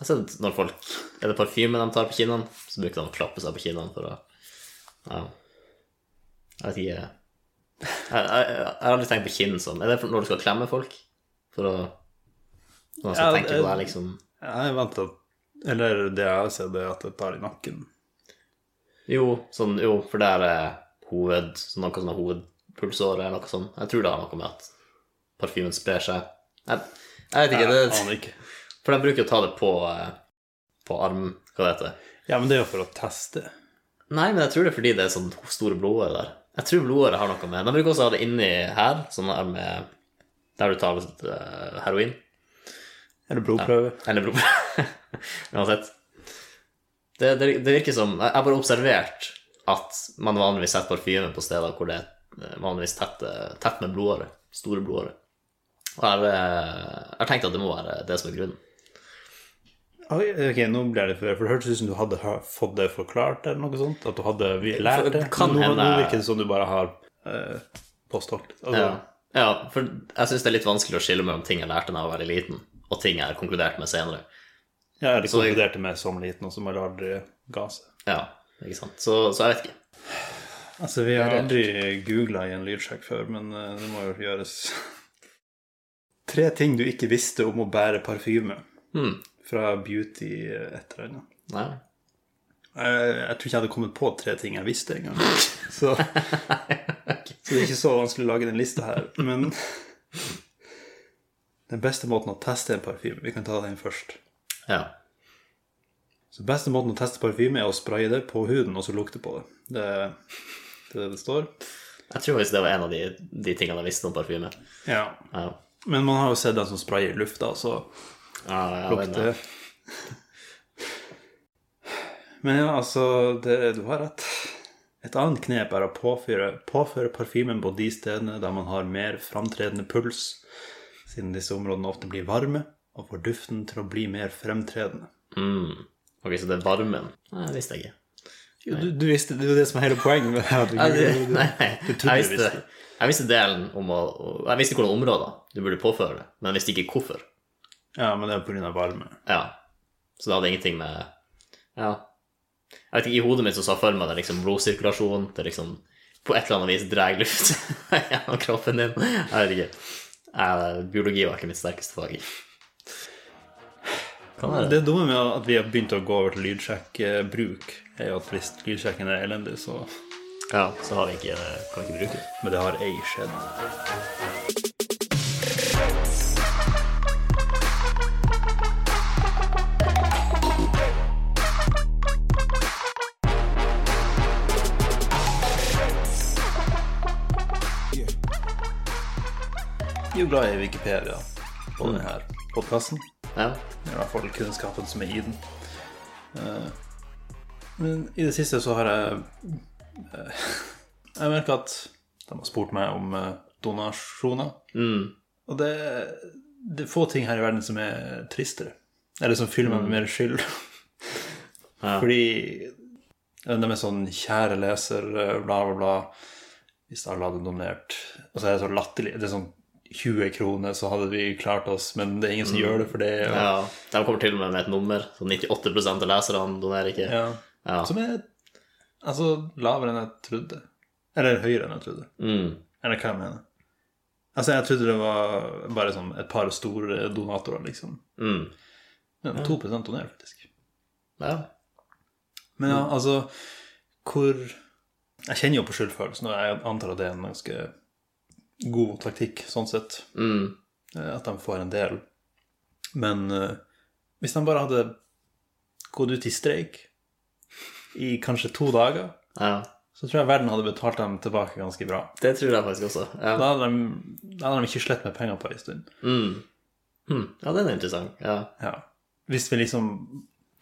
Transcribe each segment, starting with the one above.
Altså, når folk, Er det parfyme de tar på kinoen, så bruker de å klappe seg på kinoen for å ja. Jeg vet ikke jeg, jeg, jeg har aldri tenkt på kinn som Er det for- når du skal klemme folk? For å Når man skal Ja, tenke på deg, liksom Jeg er vant til at Eller det jeg har sett, er at det tar i nakken. Jo, sånn, jo for det er eh, hoved, sånn noe sånn hovedpulsåre eller noe sånt. Jeg tror det har noe med at parfymen sprer seg. Jeg, jeg vet ikke, Jeg det, aner ikke. for de bruker å ta det på, eh, på arm, hva det heter. Ja, men det er jo for å teste. Nei, men jeg tror det er fordi det er sånn store blodårer der. Jeg tror blodåret har noe med De bruker også ha det inni her, sånn der med Der du tar eh, heroin. Eller blodprøve. Eller blod. Uansett. Det, det, det virker som Jeg har bare observert at man vanligvis setter parfyme på steder hvor det er eh, vanligvis tett, tett med blodårer. Store blodårer. Og jeg har, eh, jeg har tenkt at det må være det som er grunnen. Oi, Ok, nå ble jeg litt forvirret, for det hørtes ut som du hadde ha- fått det forklart eller noe sånt. At du hadde vi- lært For- det. Men kan nå, hende- nå virker det som du bare har eh, påstått. Altså, Ja, ja for jeg syns det er litt vanskelig å skille mellom ting jeg lærte da jeg var veldig liten, og ting jeg har konkludert med senere. Jeg er litt Så jeg- konkludert med som liten, og som bare aldri ga seg. Ja, ikke sant? Så, så jeg vet ikke. Altså, vi har Rart. aldri googla i en lydsjekk før, men eh, det må jo gjøres. Tre ting du ikke visste om å bære parfyme Hmm. fra Beauty eh, et eller annet. Nei. Jeg, Eh, jeg tror ikke jeg hadde kommet på tre ting jeg visste engang. Så, så det er ikke så vanskelig å lage den lista her. Men den beste måten å teste en parfyme Vi kan ta den først. Ja. Så beste måten å teste parfyme er å spraye det på huden og så lukte på det. Det er det er det det står. Jeg tror faktisk det var en av de, de tingene jeg visste om parfyme. Ja. Ja. Men man har jo sett den som sprayer i lufta, så Ja, ja, den, lukter Men ja, altså det, Du har rett. Et annet knep er å påføre, påføre parfymen på de stedene der man har mer framtredende puls, siden disse områdene ofte blir varme og får duften til å bli mer fremtredende. Mm. Ok, så det er varmen? Nei, det visste jeg ikke. Jo, du, du visste, det er jo det som er hele poenget med det. Nei, det, her. nei, du jeg trodde du visste, visste. jeg visste delen om å å- Jeg visste hvilke områder du burde påføre det, men jeg visste ikke hvorfor. Ja, men det er pga. varme. Ja. Så det hadde ingenting med Ja. Jeg vet ikke, I hodet mitt så sa jeg for meg det er liksom blodsirkulasjon, det er liksom På et eller annet vis drar luft gjennom kroppen din. Jeg vet ikke. Eh, biologi var ikke mitt sterkeste fag. Kan være. Det dumme med at vi har begynt å gå over til lydsjekkbruk, er jo at hvis lydsjekken er elendig, så Ja, så har vi ikke, kan vi ikke bruke det. Men det har ei skjedd. Vi er jo glad i Wikipedia på denne her podkasten. Ja. I hvert fall kunnskapen som er i den. Eh, Men i det siste så har jeg eh, Jeg merker at de har spurt meg om eh, donasjoner. Mm. Og det, det er få ting her i verden som er tristere. Eller som fyller meg med mer skyld. Mm. Ja. Fordi eh, de er sånn 'kjære leser', eh, bla, bla, bla. Hvis alle hadde donert Og så er det så latterlig. Det er sånn 20 kroner, så hadde vi klart oss, men det er ingen som gjør det for det. Og, Mm. Ja, De kommer til og med med et nummer. Så 98 av leserne donerer ikke. Ja. Ja. Som er altså lavere enn jeg trodde. Eller høyere enn jeg trodde. Mm. Eller hva jeg mener. Altså, jeg trodde det var bare sånn et par store donatorer, liksom. Mm. Men 2 donerer, faktisk. Ja. Men ja, altså Hvor Jeg kjenner jo på skyldfølelsen, og jeg antar at det er en ganske god taktikk, sånn sett. Mm. eh, At de får en del. Men eh, hvis de bare hadde gått ut i streik i kanskje to dager ja. så tror jeg verden hadde betalt dem tilbake ganske bra. Det tror jeg faktisk også. Ja, Da hadde de, da hadde de ikke slett med penger på en stund. mm. Hm. ja den er interessant. Ja. Ja. Hvis vi liksom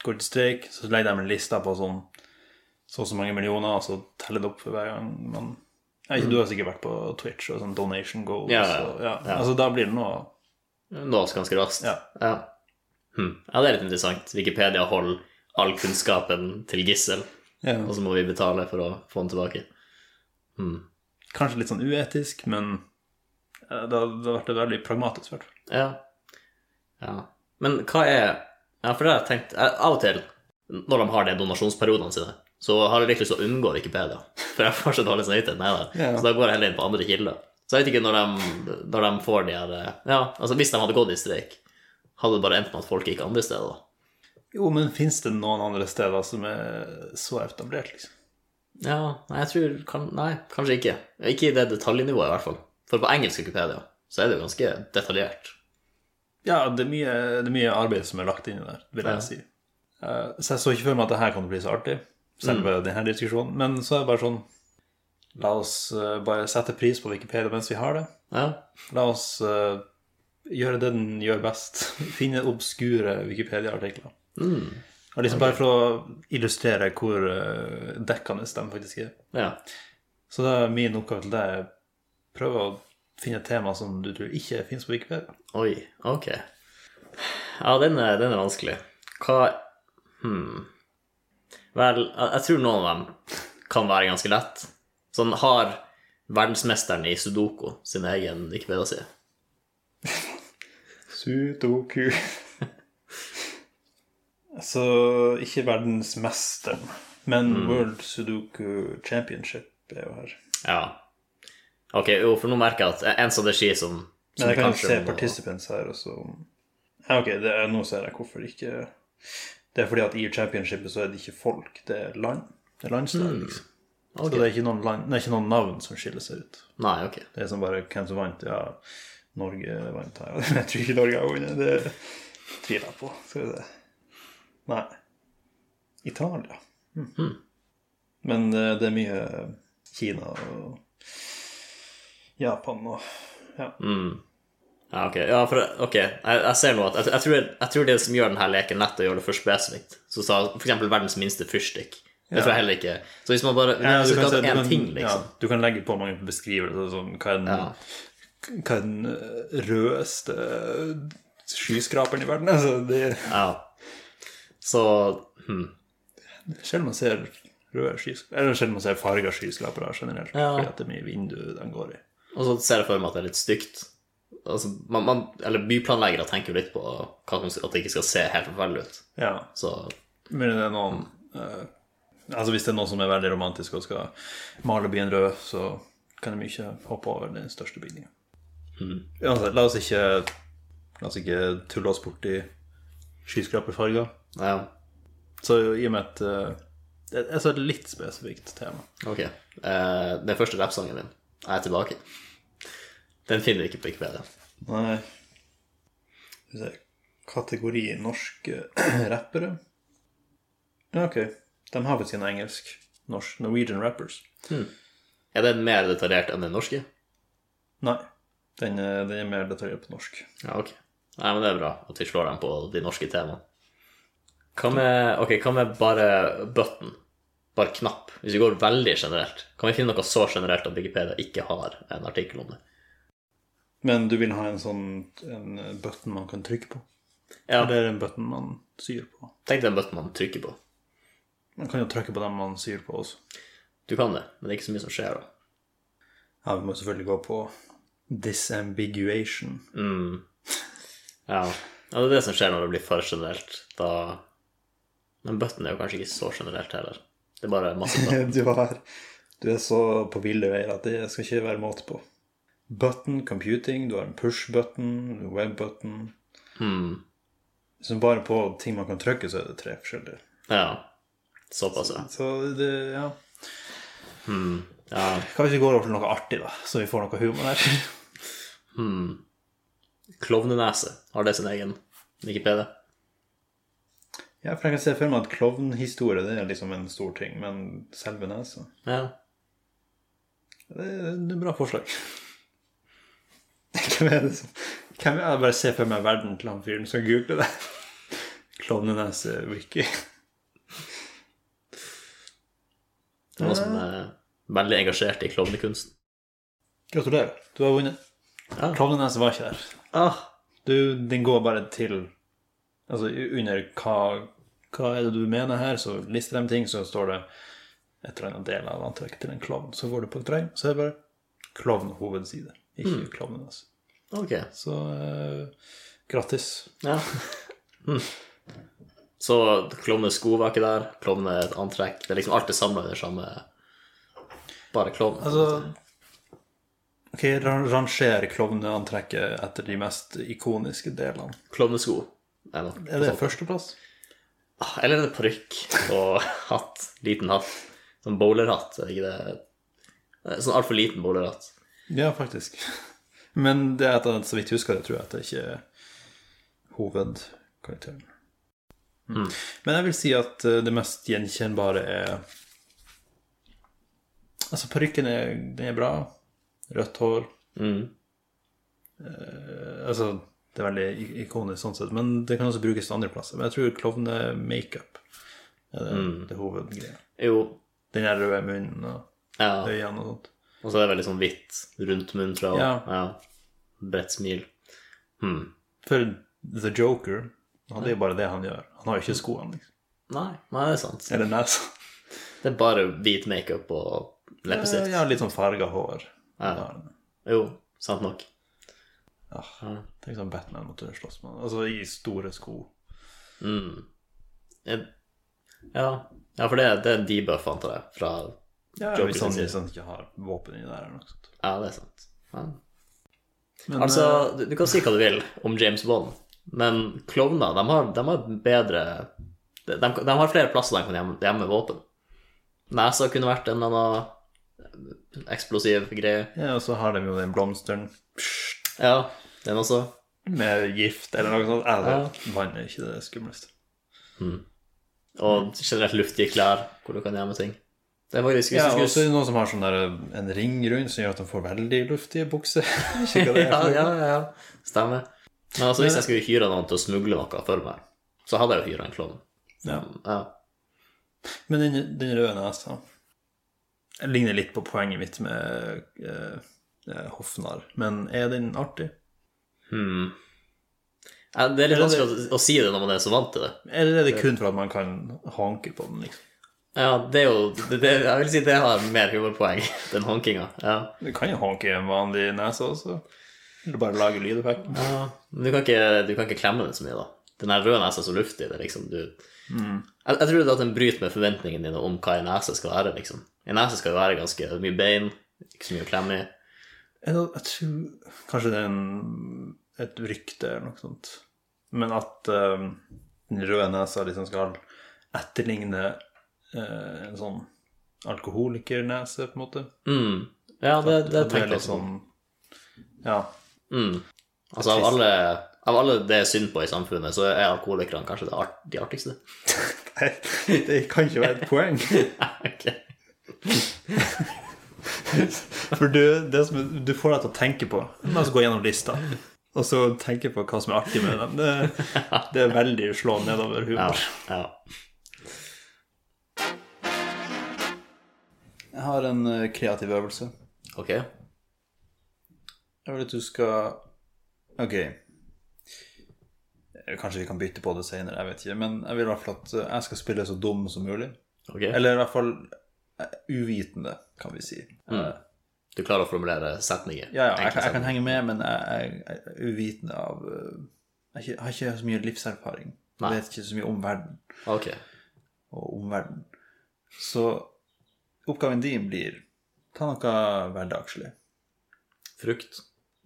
går til streik, så legger de en liste på sånn så og så mange millioner, og så teller det opp for hver gang man ja, ikke, Du har sikkert vært på Twitch og sånn donation goals. Ja, ja, og, ja. ja. Altså, da blir det noe Nås ganske raskt. Ja. Ja. Hm. ja, det er litt interessant. Wikipedia holder all kunnskapen til gissel, og så må vi betale for å få den tilbake. Hm. Kanskje litt sånn uetisk, men eh, det hadde vært veldig pragmatisk. i hvert fall. Ja. ja. Men hva er Jeg Ja, for det har jeg tenkt jeg, Av og til, når de har de donasjonsperiodene sine, så har jeg litt lyst til å unngå Wikipedia, for jeg får så dårlig samvittighet med det. Ja. Så da går jeg heller inn på andre kilder. Så jeg vet ikke når de, når de får de her Ja, altså hvis de hadde gått i streik, hadde det bare endt med at folk gikk andre steder, da. Jo, men fins det noen andre steder som er så etablert, liksom? Ja, nei, jeg tror kan, Nei, kanskje ikke. Ikke i det detaljnivået, i hvert fall. For på engelsk Wikipedia så er det jo ganske detaljert. Ja, det er mye, det er mye arbeid som er lagt inn i det, vil Ja. jeg si. Eh, Så jeg så ikke for meg at det her kan bli så artig, selve denne diskusjonen. Men så er det bare sånn La oss eh, bare sette pris på Wikipedia mens vi har det. Ja, La oss eh, gjøre det den gjør best. Finne obskure Wikipedia-artikler. Mm. Og liksom Bare for å illustrere hvor eh, dekkende de faktisk er. ja. Så det er min oppgave til deg er prøve å finne et tema som du tror ikke fins på Wikipedia. Oi, ok. Ja, den er, den er vanskelig. Hva hmm. Vel, jeg jeg tror noen av dem kan være ganske lett. Sånn har verdensmesteren i sudoku sin egen Wikipedia-side. Sudoku. Så ikke verdensmesteren, men Mm. World Sudoku Championship er jo her. Ja. Ok, jo, for nå merker jeg at en strategi som, som Men jeg kan jo kanskje se må- participants her, og så Ja, OK, det er, nå ser jeg hvorfor ikke Det er fordi at i championshipet så er det ikke folk, det er land. Det er landslag, Mm, liksom. Så det er, ikke noen land, det er ikke noen navn som skiller seg ut. Nei, ok. Det er som bare hvem som vant. Ja, Norge vant her. Jeg tror ikke Norge har vunnet. Det tviler jeg på. Skal vi se. Nei. Italia. Mhm. Men eh, det er mye Kina og Japan og ja. Ja, ok. Ja, for, ok. Jeg, jeg ser nå at jeg, jeg, tror, jeg tror det som gjør denne leken lett, er å gjøre det for spesifikt. Så sa for eksempel verdens minste fyrstikk. Det tror jeg heller ikke. Så hvis man bare Ja, hvis du, man skal kan se, ha du, én kan, ting, liksom. ja, du kan legge på mange beskrivelser. Sånn, hva er den, hva er den eh, rødeste skyskraperen i verden? Altså, det, Ja. Så hm. Selv om man ser røde skyskrapere, eller selv om man ser farga skyskrapere generelt, Ja. fordi at det er mye vindu den går i. Og så ser jeg for meg at det er litt stygt. Altså, man, man, eller byplanleggere tenker jo litt på hva som, at det ikke skal se helt forferdelig ut. Ja, Så men det er noen eh, Altså hvis det er noen som er veldig romantisk og skal male byen rød, så kan de ikke hoppe over den største bygningen. Uansett, la oss ikke La oss ikke tulle oss bort i skyskraperfarger. ja, Så i og med at eh, det er så et litt spesifikt tema. ok. Eh, den første rappsangen min Jeg er tilbake. Den finner vi ikke på Wikipedia. Nei Skal vi se Kategori norske rappere. Ja, ok. De har faktisk en engelsk. Norsk. Norwegian rappers. Er den mer detaljert enn den norske? Nei. Den er, den er mer detaljert på norsk. Ja, ok. Nei, men det er bra at vi slår dem på de norske temaene. Hva med, ok, hva med bare button? Bare knapp? Hvis vi går veldig generelt, kan vi finne noe så generelt at Wikipedia ikke har en artikkel om det? Men du vil ha en sånn en button man kan trykke på? Ja, Eller en button man syr på? tenk deg en button man trykker på. Man kan jo trykke på dem man syr på også. Du kan det, men det er ikke så mye som skjer da. Ja, vi må selvfølgelig gå på disambiguation. Mm. Ja, ja det er det som skjer når det blir for generelt. Da... Men button er jo kanskje ikke så generelt heller. Det er bare masse button. du, har, du er så på ville veier at det skal ikke være måte på. Button, computing, du har en push-button, web-button Hmm. Liksom bare på ting man kan trykke, så er det tre forskjellige. Ja, såpass, ja. Så det, ja ja. Kan vi ikke gå over til noe artig, da, så vi får noe humor her? Hmm. Klovnenese har det sin egen Wikipedia. ja, for jeg kan se for meg at klovnhistorie det er liksom en stor ting, men selve nesa Ja. Det er det er et bra forslag. Hvem er det som Hvem er det? Jeg bare ser for meg verden til han fyren som googler det. Klovnenese-wiki. Det er noen som er veldig engasjert i klovnekunsten. Gratulerer, du har vunnet. Ja. Klovnenese var ikke der. Ah, Du, den går bare til Altså under hva, hva er det du mener her, så lister de ting, så står det et eller annet del av antrekket til en klovn. Så går du på et regn, så er det bare klovnhovedside, ikke klovnenese. ok. Så eh, grattis. Ja. Hmm. Så klovnenes sko var ikke der, klovnene et antrekk. Det er liksom alt er samla under samme Bare klovnen. Altså Ok, ran- ranger klovneantrekket etter de mest ikoniske delene. klovnesko. Er nok Er det førsteplass? Ah, Eller en parykk og hatt. Liten hatt. Sånn bowlerhatt, er det ikke det? Sånn altfor liten bowlerhatt. Ja, faktisk. Men det er etter, så vidt jeg husker, det tror jeg at det ikke er hovedkarakteren. Mm. Men jeg vil si at eh, det mest gjenkjennbare er Altså, parykken er, den er bra. Rødt hår. Mm. Eh, Altså, det er veldig i- ikonisk sånn sett, men det kan også brukes til andre plasser. Men jeg tror klovne-makeup er det, Mm. det hovedgreia. Jo, Den der røde munnen og ja. øynene og sånt. Og så er det veldig sånn hvitt rundt munnen fra ja. Ja. Bredt smil. Hmm. For The Joker, han, Mm. det er jo bare det han gjør. Han har jo ikke skoene, liksom. Nei, nei, det er sant. Eller nesa. Det er bare hvit makeup og leppestift. Ja, litt sånn farga hår. Ja. Jo, sant nok. Ja. Tenk sånn Batman måtte slåss med han. Altså i store sko. Mm. Jeg, ja. ja, for det, det er en debuff, antar jeg, fra Ja, Joker hvis sin han side. hvis han ikke har våpen inni der eller noe sånt. Ja, det er sant. Ja. Men, Altså, du, du kan si hva du vil om James Bond, men klovner, de har, de har bedre de, de, de har flere plasser de kan gjemme, gjemme våpen. Nesa kunne vært en eller annen eksplosiv greie. eh, Ja, og så har de jo den blomsteren Ja, den også. med gift eller noe sånt. Eller Ja. vann er ikke det skumleste. Mm. Og generelt luftige klær, hvor du kan gjemme ting. Det er faktisk hvis Ja, du og så er skulle det noen som har sånn der, en ring rundt som gjør at de får veldig luftige bukser. Ikke hva det er ja, for noe. ja, ja, ja, stemmer. Men altså, hvis jeg skulle hyre noen til å smugle noe for meg, så hadde jeg jo hyra en klovn. Ja. Ja. Men den, den røde nesa Jeg ligner litt på poenget mitt med eh, eh, hoffnarr. Men er den artig? Hmm. Ja, det er litt Eller det- vanskelig å, å si det når man er så vant til det. Eller er det kun for at man kan hanke på den? liksom? Ja, det er jo det, det, Jeg vil si det har mer humorpoeng, den håndkinga. Ja. Du kan jo hanke i en vanlig nese også. Eller bare lage lydeffekt. ja. Men du kan, ikke, du kan ikke klemme den så mye, da. Den her røde nesa er så luftig. Det er liksom, du, jeg, jeg tror det er at den bryter med forventningene dine om hva en nese skal være. liksom. En nese skal jo være ganske mye bein, ikke så mye å klemme i. Jeg, jeg tror kanskje det er en, et rykte eller noe sånt. Men at eh, den røde nesa liksom skal etterligne eh, en sånn alkoholikernese, på en måte. Mm. Ja, det, det At tenker litt jeg også. sånn Ja. Mm. Altså, av alle, av alle det er synd på i samfunnet, så er alkoholikerne kanskje det art, de artigste. Nei, det kan ikke være et poeng. Ok. For du, det som, er- du får deg til å tenke på La oss gå gjennom lista. Og så tenke på hva som er artig med dem. Det, det er veldig slå nedover Ja, humor. ja. Jeg har en eh, kreativ øvelse. Ok. Jeg vil at du skal Ok. Eh, Kanskje vi kan bytte på det senere, jeg vet ikke. Men jeg vil i hvert fall at eh, jeg skal spille så dum som mulig. ok. Eller i hvert fall eh, uvitende, kan vi si. Mm. Eh, Du klarer å formulere setninger? Ja, ja, jeg, Enkle kan- jeg kan setninger. henge med, men jeg, jeg, jeg er uvitende av eh, Jeg har ikke- har ikke så mye livserfaring. Nei. Jeg vet ikke så mye om verden Ok. og omverden. Så oppgaven din blir ta noe hverdagslig. Frukt.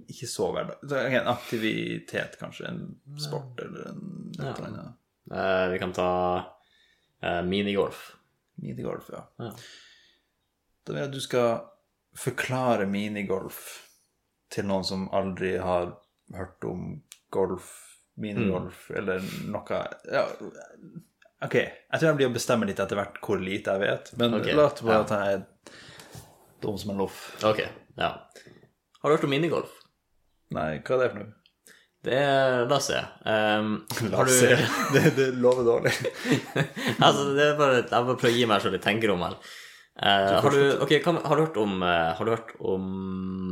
Ikke så hverdag... så En aktivitet, kanskje. En sport eller en et Mm. Ja. eller annet. Eh, vi kan ta eh, minigolf. Minigolf, ja. Ja. Da vil jeg at du skal forklare minigolf til noen som aldri har hørt om golf, minigolf Mm. eller noe ja, Ok, jeg tror jeg blir å bestemme litt etter hvert hvor lite jeg vet, men Ok, la oss bare ja. at jeg er dum som en loff. Ok, ja. Har du hørt om minigolf? Nei, hva er det for noe? Det er La oss se. Ehm, har du, Det, det lover dårlig. altså, det er bare, jeg bare prøver å gi meg selv litt tenkerom her. Eh, har, du, ok, hva, har du hørt om eh, Har du hørt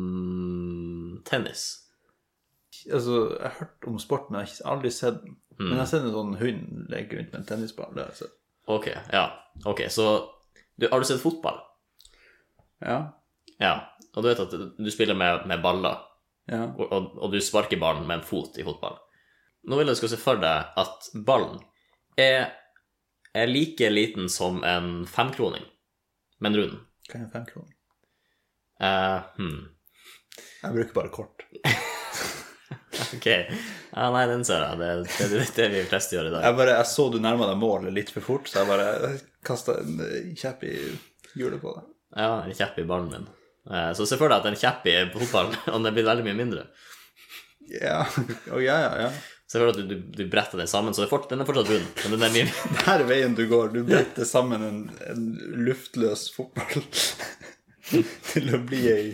om tennis? Altså, jeg har hørt om sporten, men jeg har ikke- aldri sett den. Mm. Men jeg har sett en sånn hund leke rundt med en tennisball. Det har jeg sett. Ok, ja. Ok, så du, Har du sett fotball? Ja. Ja. Og du vet at du spiller med, med baller? ja. og, og, og du sparker ballen med en fot i fotball. Nå vil jeg du skal se for deg at ballen er, er like liten som en femkroning, men rund. Hva er en femkroning? Eh, hmm. Jeg bruker bare kort. Ok. Ja, nei, den ser jeg. Det, det, det, det er det vi fleste gjør i dag. Jeg, bare, jeg så du nærma deg målet litt for fort, så jeg bare kasta en eh, kjepp i hjulet på deg. Ja, en kjepp i ballen min. Eh, Så se for deg at en kjepp i fotballen, og den blir veldig mye mindre. Ja. Å, ja, ja, ja. Se for deg at du, du, du bretter den sammen, så det er fort, den er fortsatt rund. Men den er mye Det her er veien du går. Du bretter sammen en, en luftløs fotball til å bli ei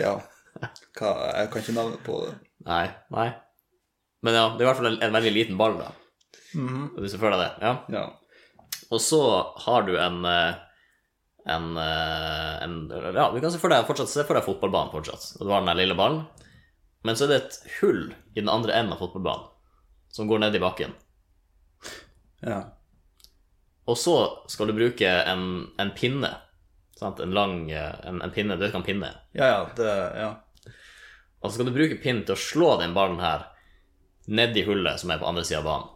Ja. Hva, jeg kan ikke navnet på det. Nei. nei. Men ja, det er i hvert fall en, en veldig liten ball, da. Mhm. Og du ser for deg det? Ja. Ja. Og så har du en eh, en, eh, en Ja, du kan se for deg, fortsatt, se for deg fotballbanen fortsatt. Og du har den der lille ballen. Men så er det et hull i den andre enden av fotballbanen som går ned i bakken. ja. Og så skal du bruke en, en pinne. Sant? En lang eh, en, en pinne, du vet hva en pinne er. Ja, ja, det Ja. Og så skal du bruke pinnen til å slå den ballen her ned i hullet som er på andre sida av banen.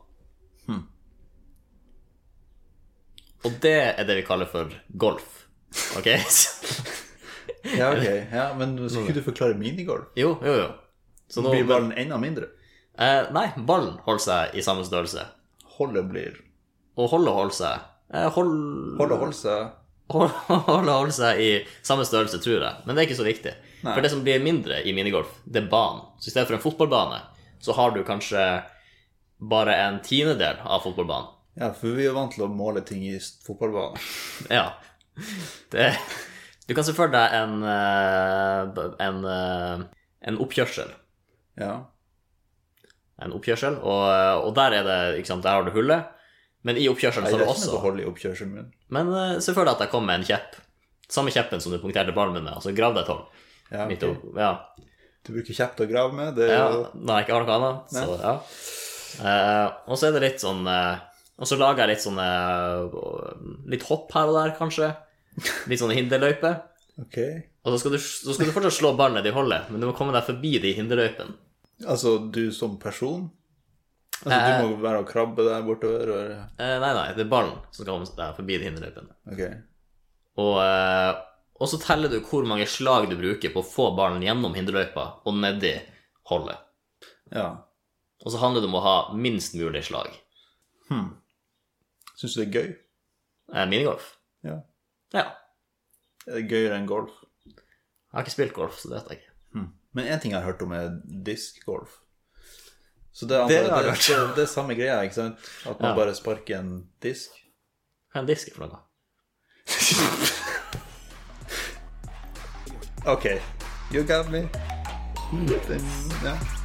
Hmm. Og det er det vi kaller for golf. Ok? ja ok. Ja, men skal ikke du forklare minigolf? jo, jo, jo. Så nå, Blir ballen enda mindre? eh, nei, ballen holder seg i samme størrelse. Holdet blir Og holdet holder seg eh, hold- Holdet holder seg Hold- Holdet holder seg i samme størrelse, tror jeg. Men det er ikke så viktig. Nei. For det som blir mindre i minigolf, det er banen. Så i stedet for en fotballbane, så har du kanskje bare en tiendedel av fotballbanen. Ja, for vi er vant til å måle ting i s- fotballbanen. Ja. Det, du kan se for deg en, eh, en, eh, en oppkjørsel. Ja. En oppkjørsel, og, og der er det, ikke sant, der har du hullet. Men i oppkjørselen Jeg så har du er ikke noe også hold i oppkjørselen min. Men eh, se for deg at jeg kom med en kjepp. Samme kjeppen som du punkterte ballen min med, altså grav deg et hull. Ja, Midt ok. opp. Ja. Du bruker kjepp til å grave med. Det er Ja, jo når jeg ikke har noe annet. Så, ja. Eh, og så er det litt sånn eh, Og så lager jeg litt sånn eh, Litt hopp her og der, kanskje. Litt sånn hinderløype. Ok. Og så skal, du, så skal du fortsatt slå ballen ned i hullet, men du må komme deg forbi de hinderløypene. Altså, du som person? Altså, Eh. du må være og krabbe der bortover og Eh, nei, nei, det er ballen som skal komme deg forbi de hinderløypene. Ok. Og, eh, og så teller du hvor mange slag du bruker på å få ballen gjennom hinderløypa og nedi hullet. Ja. Og så handler det om å ha minst mulig slag. Syns du det er gøy? Eh, minigolf. Ja. Ja. Er det gøyere enn golf? Jeg har ikke spilt golf, så det vet jeg ikke. Men én ting jeg har hørt om, er diskgolf. Så det, er Det antagelig- har jeg det, det, det er samme greia, ikke sant? At man Ja. bare sparker en disk. Hva er en disk for noe? Mm. Ok. You got me. Den, ja.